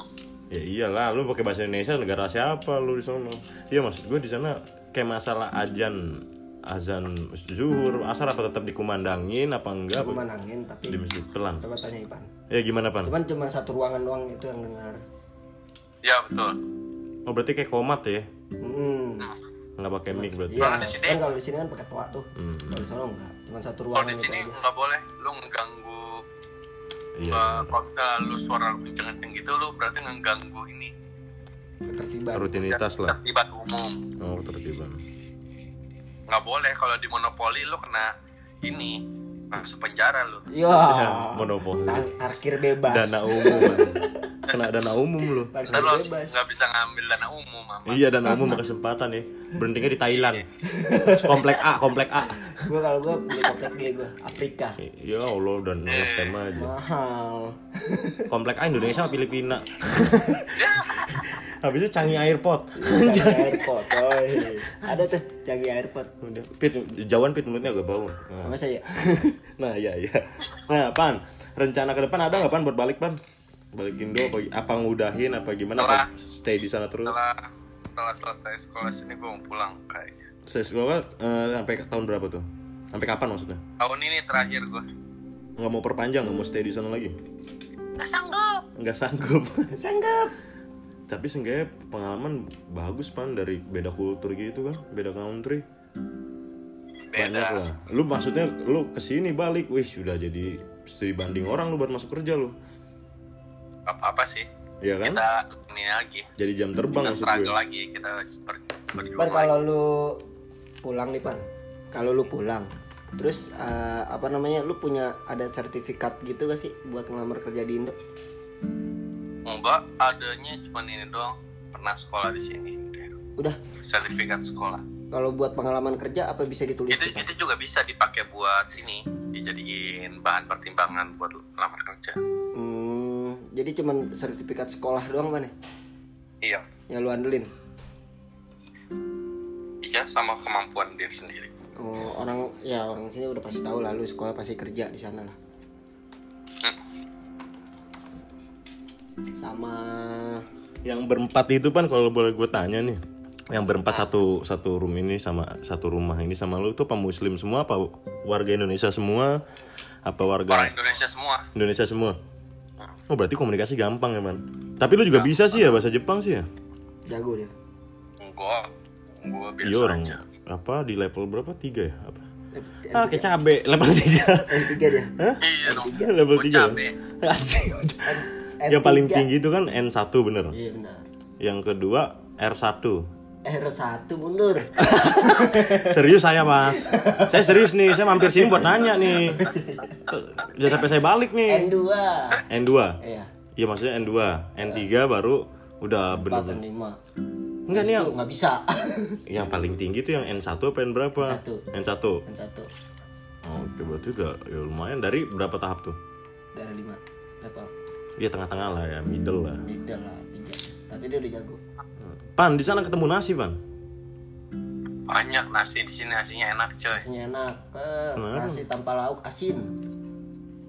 S1: Ya iyalah, lu pakai bahasa Indonesia negara siapa lu di sana? Iya maksud gue di sana kayak masalah ajan azan zuhur asar apa tetap dikumandangin apa enggak
S2: gue manangin
S1: di
S2: tapi
S1: masjid pelan
S2: coba tanya Ipan
S1: ya gimana pan
S2: cuman cuma satu ruangan doang itu yang dengar
S3: ya betul
S1: oh berarti kayak komat ya
S2: hmm.
S1: nggak pakai mic berarti
S2: Iya,
S3: Nah, Kalau di sini-
S2: kan kalau di sini kan pakai toa tuh.
S1: Hmm.
S2: Kalau di sana enggak, cuma satu
S3: kalau
S2: ruangan
S3: di
S2: itu
S3: sini
S2: aja.
S3: nggak boleh lu ngeganggu
S1: iya
S3: uh, kalau misalnya lu suara lu kenceng-kenceng gitu lu berarti ngeganggu ini
S2: Ketertiban.
S1: rutinitas lah
S3: tertibat umum
S1: oh tertiban
S3: nggak boleh kalau di monopoli lu kena ini masuk penjara lu
S2: Yo.
S1: Ya, monopoli.
S2: Par- Parkir Iya. bebas.
S1: dana umum kena dana umum lo
S2: Parkir
S3: ntar lu
S2: bebas.
S3: nggak bisa ngambil dana umum mama
S1: iya dana umum kesempatan ya berhentinya di Thailand komplek A komplek A
S2: Gua kalau gua beli komplek dia gua Afrika.
S1: ya Allah dan tema aja
S2: Mahal.
S1: komplek A Indonesia sama Filipina habis itu Canggih Airport
S2: Canggih airport. Oi. Ada tuh canggih airport.
S1: Udah, pit jauhan pit mulutnya agak bau nah,
S2: Apa saya?
S1: nah ya ya nah pan rencana ke depan ada nggak pan buat balik pan balik Indo apa, apa ngudahin apa gimana apa stay di sana terus
S3: setelah setelah selesai sekolah sini gue mau pulang kayaknya
S1: saya sekolah eh, sampai ke- tahun berapa tuh sampai kapan maksudnya
S3: tahun ini terakhir gue
S1: nggak mau perpanjang nggak mau stay di sana lagi
S3: nggak sanggup
S1: nggak sanggup
S2: Sanggup.
S1: tapi seenggaknya pengalaman bagus pan dari beda kultur gitu kan beda country banyak
S3: beda
S1: lah lu maksudnya lu kesini balik wih sudah jadi istri banding orang lu buat masuk kerja lu
S3: apa apa sih
S1: Iya kan
S3: kita ini lagi
S1: jadi jam terbang
S3: kita
S1: maksud gue
S3: struggle lagi kita ber- berjuang
S2: Pan
S3: lagi.
S2: kalau lu pulang nih Pan, kalau lu pulang, terus eh, apa namanya, lu punya ada sertifikat gitu gak sih buat ngelamar kerja di Indo?
S3: enggak adanya cuman ini doang pernah sekolah di sini
S2: Udah,
S3: sertifikat sekolah
S2: kalau buat pengalaman kerja apa bisa ditulis? tuh,
S3: itu
S2: Pan?
S3: itu juga bisa dipakai buat ini dijadiin bahan pertimbangan buat lamar kerja
S2: Hmm, jadi cuman sertifikat sekolah doang Pan ya?
S3: iya
S2: Yang lu andelin?
S3: iya sama kemampuan diri sendiri
S2: Oh, orang ya orang sini udah pasti tahu lah lu sekolah pasti kerja di sana lah.
S3: Hmm?
S2: Sama
S1: yang berempat itu pan kalau boleh gue tanya nih yang berempat satu satu room ini sama satu rumah ini sama lu tuh apa muslim semua apa warga Indonesia semua apa warga
S3: orang Indonesia semua
S1: Indonesia semua oh berarti komunikasi gampang ya man tapi lu juga bisa sih ya bahasa Jepang sih ya
S2: jago dia.
S3: enggak gua biasa
S1: iya orang
S3: aja
S1: apa di level berapa tiga ya apa
S2: Eh,
S1: ah kayak cabe level tiga
S2: tiga dia.
S3: iya dong
S1: level
S3: Gua
S1: tiga
S3: cabe.
S1: Asik.
S2: M
S1: yang paling
S2: tiga.
S1: tinggi itu kan N 1 bener
S2: Iya benar.
S1: yang kedua R 1
S2: R satu mundur.
S1: Serius saya mas Saya serius nih, saya mampir sini buat nanya nih Udah sampai saya balik
S2: N
S1: nih
S2: dua.
S1: N2
S2: Iya.
S1: Iya maksudnya N2 N3 baru udah
S2: Empat dan
S1: bener
S2: lima.
S1: Enggak nih yang,
S2: Tuh nggak bisa.
S1: yang paling tinggi tuh yang N1 apa N berapa? N1
S2: N1. N satu
S1: Oke berarti udah ya lumayan dari berapa tahap tuh?
S2: dari lima. Level
S1: Ya tengah-tengah lah ya, middle lah
S2: middle lah tiga. Tapi dia udah jago.
S1: Pan, di sana ketemu nasi Pan
S3: banyak nasi di sini nasinya enak coy
S2: Rasanya enak. Eh,
S1: Kenapa?
S2: nasi tanpa lauk asin.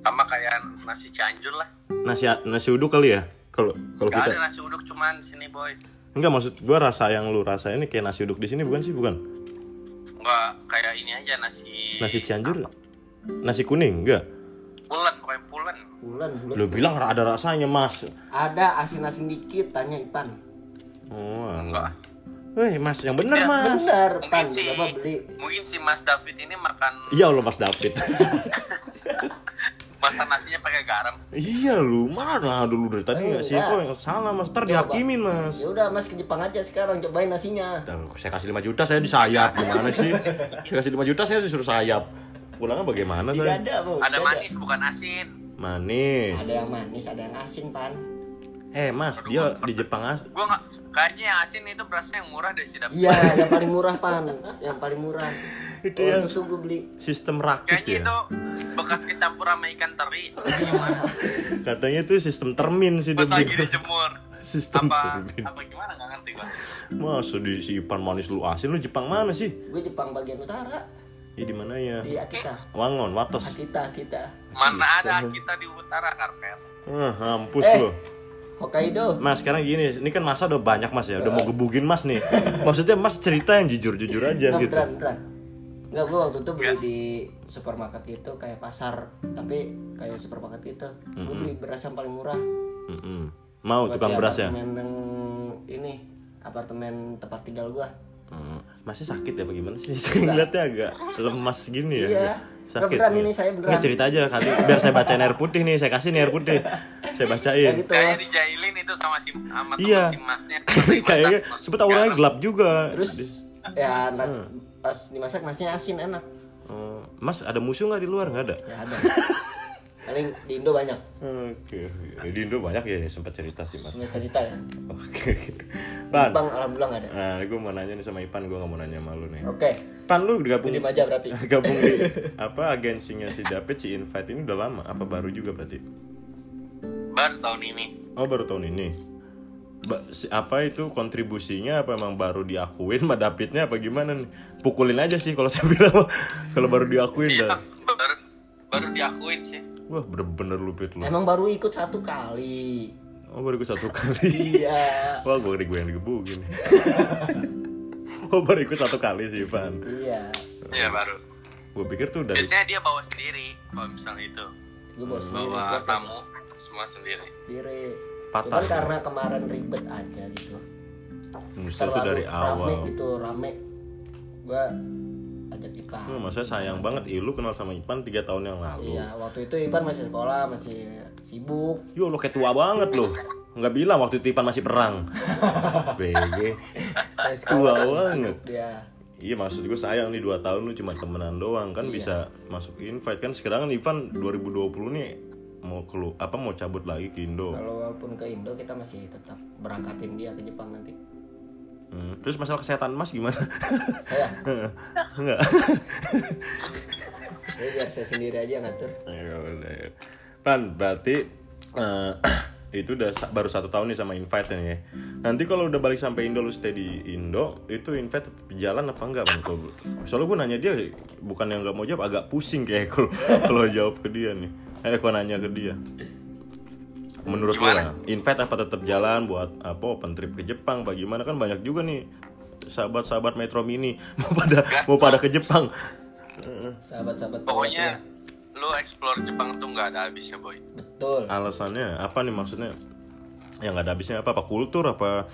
S3: sama kayak nasi Cianjur lah
S1: Nasi, nasi uduk kali ya? Kalau kalau
S3: Gak
S1: kita
S3: ada nasi uduk cuman di sini boy.
S1: Enggak maksud gua rasa yang lu rasain ini kayak nasi uduk di sini bukan sih? Bukan.
S3: Enggak kayak ini aja nasi
S1: Nasi Cianjur Nasi kuning enggak?
S3: pulen pokoknya pulen.
S2: Bulan bulan.
S1: Lu bilang ra- ada rasanya, Mas.
S2: Ada asin-asin dikit tanya Ipan.
S1: Oh,
S3: Enggak.
S1: Weh, Mas, yang bener, Mas.
S2: Bener, Pan.
S3: Mungkin si
S2: Berapa beli?
S3: mungkin si Mas David ini makan
S1: Iya lo Mas David.
S3: masak nasinya pakai garam.
S1: iya lu mana dulu dari tadi nggak sih
S2: Enggak.
S1: kok yang salah Mas, ntar dihakimin Mas.
S2: Ya udah Mas ke Jepang aja sekarang cobain nasinya.
S1: Ntar Saya kasih 5 juta saya disayap gimana sih? Saya kasih 5 juta saya disuruh sayap. Pulangnya bagaimana
S2: Tidak
S1: saya?
S2: ada, Bro.
S3: Ada
S2: tidak
S3: manis bukan asin.
S1: Manis.
S2: Ada yang manis, ada yang asin, Pan.
S1: Eh Mas, dia di Jepang as
S3: Gua nggak kayaknya yang asin itu berasnya yang murah deh si David.
S2: Iya, yang paling murah, Pan. Yang paling murah.
S1: Itu
S2: Oh,
S1: yang-
S2: itu gue beli.
S1: sistem rakit
S3: Kayaknya
S1: ya.
S3: itu bekas kecampur sama ikan teri.
S1: Katanya itu sistem termin sih dia
S3: Pas lagi
S1: bilang.
S3: dijemur.
S1: Sistem
S3: Apa
S1: termin.
S3: apa gimana nggak ngerti gua.
S1: Masa di si Ipan manis lu asin lu Jepang mana sih?
S2: Gue Jepang bagian utara
S1: Ya di mana ya?
S2: di Akita.
S1: Wangon, Wates.
S2: Akita, Akita.
S3: Mana
S1: Iya,
S3: ada kita di utara karpet.
S1: Eh, hampus
S2: Eh.
S1: lu.
S2: Hokkaido.
S1: Mas sekarang gini, ini kan masa udah banyak mas ya, udah mau gebugin mas nih. Maksudnya mas cerita yang jujur-jujur aja
S2: Nah,
S1: gitu.
S2: beneran, beneran. Enggak, gue waktu itu beli di supermarket gitu, kayak pasar. Tapi kayak supermarket gitu. Gue beli beras yang paling murah.
S1: Mm-mm. Mau Mm-hmm.
S2: Buat
S1: tukang
S2: di
S1: beras ya?
S2: apartemen yang ini apartemen tempat tinggal gua
S1: Mm. Masih sakit ya bagaimana sih? Saya ngeliatnya agak lemas gini ya.
S2: Iya.
S1: agak
S2: Nggak, beneran
S1: iya.
S2: ini, saya beneran.
S1: Nggak, cerita aja kali, biar saya bacain air putih nih, saya kasih nih air putih. Saya bacain.
S2: Kayak gitu
S3: Kayaknya dijailin itu sama si sama temen
S1: Iya.
S3: si masnya.
S1: Kayaknya sebut auranya gelap juga.
S2: terus ya nas pas dimasak nasinya asin enak
S1: Eh, mas ada musuh nggak di luar nggak ada
S2: ya ada paling di Indo banyak
S1: oke di Indo banyak ya sempat cerita sih mas oke
S2: semester kita ya
S1: Pan
S2: Bang alhamdulillah nggak ada
S1: nah gue mau nanya nih sama Ipan gue nggak mau nanya malu nih
S2: oke
S1: Pan lu gabung
S2: Diem aja berarti
S1: gabung di apa agensinya si David si Invite ini udah lama apa baru juga berarti
S3: Baru tahun ini
S1: oh baru tahun ini Ba- si- apa itu kontribusinya apa emang baru diakuin sama Davidnya apa gimana nih pukulin aja sih kalau saya bilang kalau baru diakuin dah
S3: Iya, baru, baru diakuin sih
S1: wah bener-bener lupit lu
S2: emang baru ikut satu kali
S1: oh baru ikut satu kali
S2: iya
S1: wah gue gue yang digebukin oh baru ikut satu kali sih Ivan
S2: iya
S3: Iya baru
S1: gue pikir tuh dari
S3: Biasanya dia bawa sendiri Kalau misalnya itu
S2: gue bawa sendiri
S3: Bawa
S2: gua
S3: tamu Semua sendiri
S2: sendiri
S1: Patah. ya.
S2: cuman karena kemarin ribet aja gitu
S1: mesti itu dari
S2: rame
S1: awal
S2: gitu rame gua ajak Ipan
S1: Hmm, masa sayang banget Ih, lu kenal sama Ipan tiga tahun yang lalu
S2: iya waktu itu Ipan masih sekolah masih sibuk
S1: Yo lo kayak tua banget lo. Nggak bilang waktu itu Ipan masih perang. BG.
S2: masih
S1: Tua
S2: masih
S1: banget.
S2: sibuk dia
S1: Iya maksud gue sayang nih 2 tahun lu cuma temenan doang kan bisa masuk invite kan sekarang kan Ivan 2020 nih mau kelu apa mau cabut lagi ke Indo.
S2: kalau walaupun ke Indo kita masih tetap berangkatin dia ke Jepang nanti
S1: Hmm, Terus masalah kesehatan Mas gimana?
S2: saya
S1: Enggak.
S2: saya biar saya sendiri aja yang ngatur
S1: Ya udah, ya. Pan berarti eh, itu udah sa- baru satu tahun nih sama invite nih ya. Nanti kalau udah balik sampai Indo lu stay di Indo, itu invite tetap jalan apa enggak bang? Kalau- Soalnya gue nanya dia bukan yang nggak mau jawab, agak pusing kayak kalau kalau jawab ke dia nih. Eh, gue nanya ke dia. Menurut gue,
S3: Gimana?
S1: invite apa tetap jalan buat apa open trip ke Jepang? Bagaimana kan banyak juga nih sahabat-sahabat Metro Mini mau pada mau pada ke Jepang.
S2: sahabat-sahabat
S3: Pokoknya Lu explore Jepang tuh nggak ada habisnya boy
S2: betul
S1: alasannya apa nih maksudnya yang nggak ada habisnya apa apa kultur apa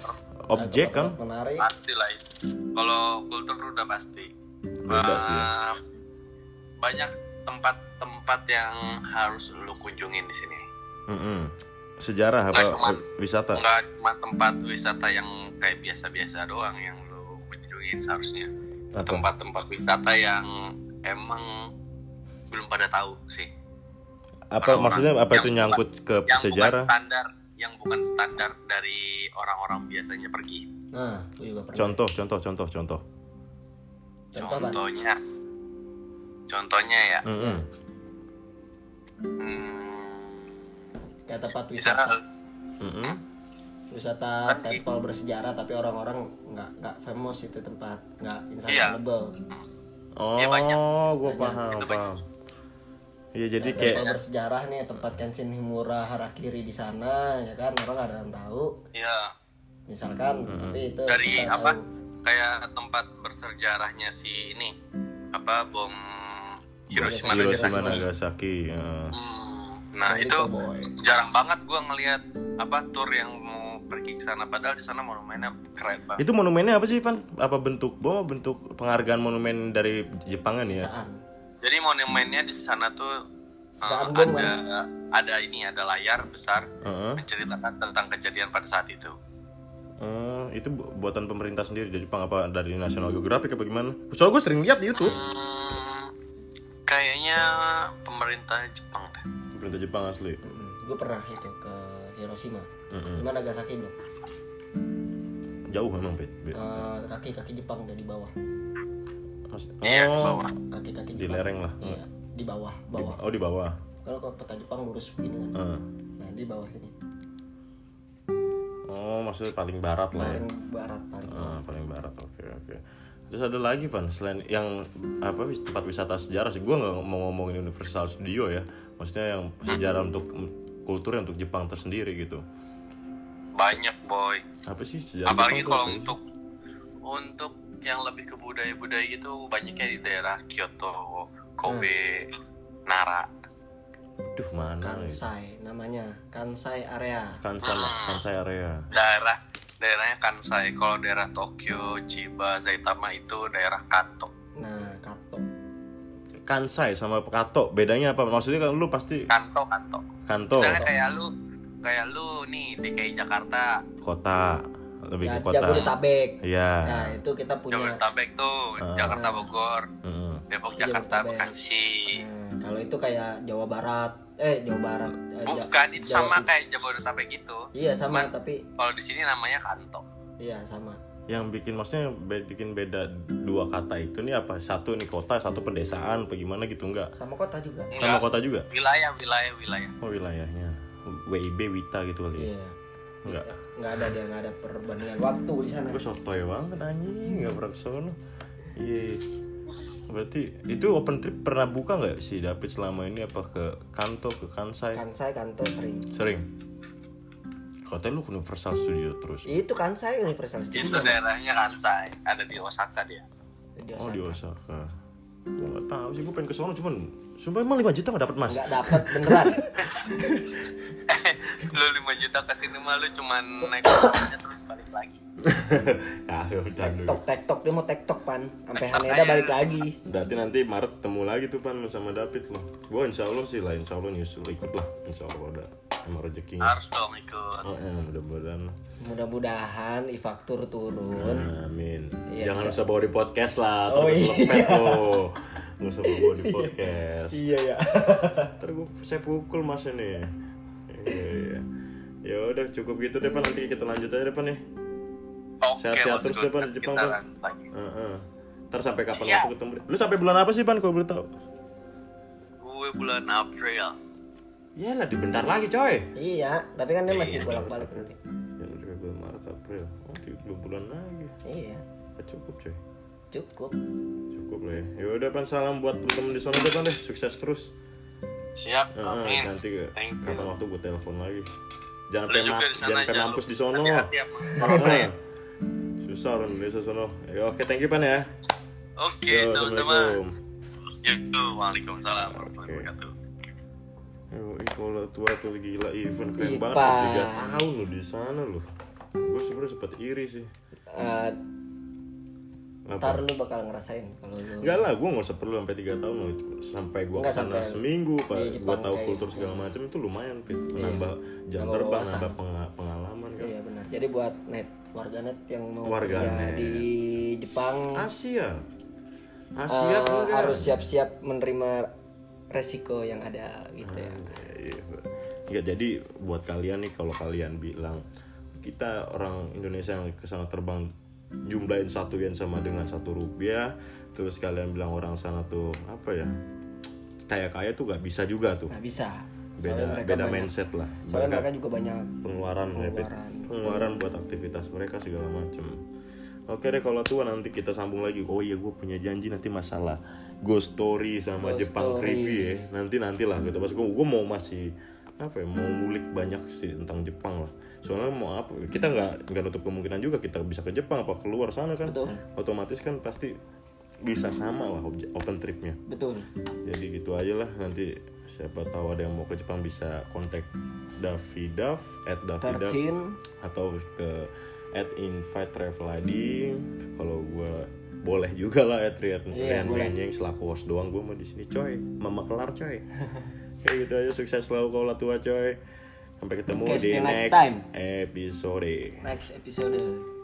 S1: objek kan
S2: menarik
S3: Pasti lah itu Kalau kultur udah pasti
S1: beda sih ya.
S3: Eh, Banyak tempat-tempat yang harus lu kunjungin di sini
S1: Mm-mm. sejarah apa
S3: Nggak cuman-
S1: wisata
S3: nggak cuma tempat wisata yang kayak biasa-biasa doang yang lu kunjungin seharusnya
S1: Apa?
S3: tempat-tempat wisata yang emang belum pada tahu sih
S1: apa
S3: Orang-orang
S1: maksudnya apa
S3: yang
S1: itu nyangkut ke
S3: yang
S1: sejarah
S3: bukan standar yang bukan standar dari orang-orang biasanya pergi
S2: nah gue juga pernah
S1: contoh contoh contoh contoh
S2: contoh kan
S3: contohnya contohnya ya
S1: Mm-mm.
S3: hmm,
S2: kayak tempat
S3: misalnya
S2: wisata
S1: Mm-mm.
S2: wisata temple bersejarah tapi orang-orang nggak nggak famous itu tempat nggak
S3: Iya.
S2: instagramable
S1: oh
S3: Ya, banyak.
S1: gue Oh, paham
S3: Itu
S1: paham Iya jadi
S2: Nah,
S1: kayak
S2: temple bersejarah nih tempat Kenshin Himura Harakiri di sana ya kan orang nggak ada yang tahu
S3: ya
S2: misalkan
S1: Mm-hmm.
S2: tapi itu
S3: dari
S2: kita
S3: apa Nah,
S2: tahu.
S3: kayak tempat bersejarahnya si ini apa bom Hiroshima
S1: Hiroshima
S3: Nagasaki
S1: Nagasaki ya.
S3: Hmm, nah
S2: Yang
S3: itu
S2: boy.
S3: jarang banget gua ngelihat apa tour yang mau pergi ke sana padahal di sana monumennya keren banget.
S1: itu monumennya apa sih Ivan apa bentuk bom bentuk penghargaan monumen dari Jepangan ya
S2: sisaan
S3: Jadi monumennya di sana tuh eh,
S2: Sisaan bom,
S3: ada ada ini ada layar besar
S1: Heeh.
S3: menceritakan tentang kejadian pada saat itu.
S1: Oh, itu bu- buatan pemerintah sendiri dari Jepang apa dari National Geographic apa gimana? Soalnya gue sering lihat di YouTube.
S3: Hmm, kayaknya pemerintah Jepang deh.
S1: Pemerintah Jepang asli.
S2: gue pernah itu ke Hiroshima
S1: Hmm.
S2: cuma Nagasaki belum
S1: Jauh emang Pet. Be-
S2: Eh, kaki-kaki Jepang dari bawah
S1: Mas-
S3: Iya, di
S1: Oh,
S3: bawah.
S2: kaki-kaki
S1: di
S2: Jepang
S1: lereng lah.
S2: iya di bawah
S1: Di-
S2: bawah
S1: oh di bawah.
S2: kalau ke peta Jepang lurus begini kan
S1: Eh.
S2: nah di bawah sini
S1: Oh, maksudnya paling barat lah ya.
S2: paling barat paling
S1: Eh, paling barat. Oke, oke. Terus ada lagi Pan selain yang apa wis- tempat wisata sejarah sih. Gue nggak mau ngomongin Universal Studio ya. Maksudnya yang sejarah untuk kultur untuk Jepang tersendiri gitu.
S3: Banyak boy.
S1: Apa sih sejarah?
S3: Apalagi
S1: Jepang tuh
S3: kalau
S1: apa sih?
S3: untuk untuk yang lebih ke budaya-budaya gitu banyaknya di daerah Kyoto, Kobe,
S1: Hmm.
S3: Nara.
S1: Duh, mana ya?
S2: Kansai namanya Kansai area
S1: Kansai, Kansai area.
S3: daerah daerahnya Kansai kalau daerah Tokyo Chiba Saitama itu daerah Kanto
S2: nah Kato
S1: Kansai sama Kato bedanya apa? Maksudnya kan lu pasti
S3: Kanto Kanto
S1: Kanto
S3: misalnya kayak lu kayak lu nih DKI Jakarta
S1: kota lebih
S2: Ya,
S1: ke kota.
S2: Jabodetabek.
S1: Iya.
S2: Nah, itu kita punya. Ah.
S3: Jabodetabek tuh, Jakarta Bogor,
S1: Mm.
S3: Depok Jakarta
S2: Iya, Jabodetabek.
S3: Bekasi.
S2: Nah, kalau itu kayak Jawa Barat, eh Jawa Barat. eh, Ja-
S3: Bukan itu
S2: Jawa
S3: sama
S2: Timur.
S3: kayak Jabodetabek gitu.
S2: Iya sama,
S3: Cuman-
S2: tapi
S3: Kalau di sini namanya Kanto.
S2: iya sama.
S1: Yang bikin maksudnya be- bikin beda dua kata itu nih apa? Satu nih kota, satu pedesaan, apa gimana gitu enggak?
S2: Sama kota juga.
S1: Sama
S3: Enggak,
S1: kota juga?
S3: wilayah, wilayah, wilayah.
S1: Oh wilayahnya. WIB Wita gitu kali. ya?
S2: Iya.
S1: Enggak.
S2: Nggak ada dia nggak ada perbandingan waktu di sana.
S1: Gue sotoy banget anjing, enggak pernah kesana. Iya. Berarti itu open trip pernah buka nggak si David selama ini apa ke Kanto, ke Kansai?
S2: Kansai Kanto sering.
S1: Sering. Katanya lu ke Universal Studio terus.
S2: Itu Kansai Universal
S3: Itu
S2: Studio.
S3: daerahnya Kansai, ada di Osaka dia.
S2: Di
S1: Oh
S2: Osaka.
S1: di Osaka. Gua nggak tahu sih, gue pengen ke sono cuman sumpah emang 5 juta nggak dapat mas.
S2: Nggak dapat beneran.
S3: lu 5 juta ke sini mah lu cuman naik motornya terus balik lagi.
S1: nah, udah dulu.
S2: Tok tektok dia mau tektok pan. Sampai
S3: Tektok
S2: Haneda
S3: aja.
S2: balik lagi.
S1: Berarti nanti Maret temu lagi tuh pan lu sama David lo. Gue insya Allah sih lah, insya Allah nyusul ikut lah, insya Allah udah emang rezekinya.
S3: Harus dong ikut.
S1: Oh, ya, mudah-mudahan.
S2: Mudah-mudahan e-faktur turun.
S1: Amin.
S2: Iya,
S1: Jangan
S2: bisa.
S1: usah bawa di podcast lah,
S2: Oh,
S1: terus
S2: iya.
S1: lepet lo. Nggak usah bawa di podcast.
S2: Iya ya.
S1: Ntar gua- saya pukul mas ini. Iya, iya. Ya udah cukup gitu deh pan nanti kita lanjut aja deh pan ya.
S3: Oke,
S1: Sehat-sehat
S3: bos,
S1: terus
S3: good.
S1: deh, Pan, di Jepang, kan?
S3: Kita
S1: Pan.
S3: lanjut lagi.
S1: Heeh. Ntar sampai kapan
S3: Iya.
S1: waktu ketemu? Lu sampai bulan apa sih pan kalau boleh tahu?
S3: Gue bulan April.
S1: Ya lah, dibentar lagi coy.
S2: Iya, tapi kan dia masih bolak-balik.
S1: Ya udah bulan Maret April. Oke, dua bulan lagi.
S2: Iya,
S1: Ya, cukup coy.
S2: cukup.
S1: Cukup lah ya. Ya udah pan salam buat temen-temen di sana deh pan deh. Sukses terus.
S3: Siap,
S1: Heeh,
S3: amin.
S1: Ah, nanti ke-
S3: Thank you.
S1: kapan waktu gue telepon lagi. Jangan
S3: Lu
S1: pengen
S3: juga di sana
S1: jangan pengen
S3: jangan
S1: mampus
S3: lupa.
S1: di sono.
S3: Hati-hati ya, Bang.
S1: Heeh. Susah orang Indonesia sono. Ya, oke, thank you pan ya.
S3: Oke,
S1: Yo,
S3: sama-sama.
S1: Assalamualaikum.
S3: Ya, Waalaikumsalam warahmatullahi
S1: Oke.
S3: wabarakatuh.
S1: Yo, ih, kalau tua tuh gila event keren
S2: Ih,
S1: banget
S2: Pak.
S1: loh, tiga tahun lo di sana lo. Gue sebenarnya sempat iri sih.
S2: Eh,
S1: Apa?
S2: ntar lu bakal ngerasain kalau lu
S1: Enggak lah, gue nggak usah perlu sampai tiga tahun loh. Sampai gue
S2: Nggak,
S1: kesana
S2: sampai
S1: seminggu, pak.
S2: di
S1: Gue
S2: Jepang
S1: tahu
S2: kayak
S1: kultur
S2: gitu.
S1: segala macam itu lumayan, Fit. Nambah jam
S2: Nambah
S1: terbang,
S2: wawasan.
S1: nambah penga- pengalaman kan.
S2: Iya benar. Jadi buat net warganet yang mau
S1: Warganet.
S2: kuliah di
S1: Ah,
S2: Jepang
S1: Asia,
S2: eh,
S1: Asia tuh kan.
S2: harus siap-siap menerima resiko yang ada gitu ya.
S1: Iya. Nggak, jadi buat kalian nih kalau kalian bilang kita orang Indonesia yang kesana terbang jumlahin satu yen sama dengan satu rupiah terus kalian bilang orang sana tuh apa ya kaya kaya tuh nggak bisa juga tuh
S2: Nah bisa. Soalnya
S1: beda
S2: mereka
S1: beda
S2: banyak-
S1: mindset lah
S2: Soalnya
S1: Mereka-
S2: mereka juga banyak.
S1: pengeluaran David.
S2: Pengeluaran.
S1: pengeluaran buat aktivitas mereka segala macem oke deh kalau tua nanti kita sambung lagi oh iya gue punya janji nanti masalah ghost story sama
S2: Ghost
S1: Jepang
S2: story.
S1: creepy ya nanti nantilah gitu pas gue gue mau masih apa ya mau ngulik banyak sih tentang Jepang lah soalnya mau apa kita nggak nggak nutup kemungkinan juga kita bisa ke Jepang apa keluar sana kan
S2: Betul.
S1: otomatis kan pasti bisa sama lah obje- open tripnya
S2: Betul.
S1: jadi gitu aja lah nanti siapa tahu ada yang mau ke Jepang bisa kontak Davidav at Davidav
S2: 13
S1: atau ke at invite travel ID kalau gue boleh juga lah at Rian
S2: Iya,
S1: Rian
S2: boleh.
S1: Menjeng selaku host doang gue mah di sini coy mama kelar coy kayak gitu aja sukses selalu kau tua coy sampai ketemu
S2: Oke,
S1: di
S2: see you
S1: next
S2: next time.
S1: episode
S2: next episode.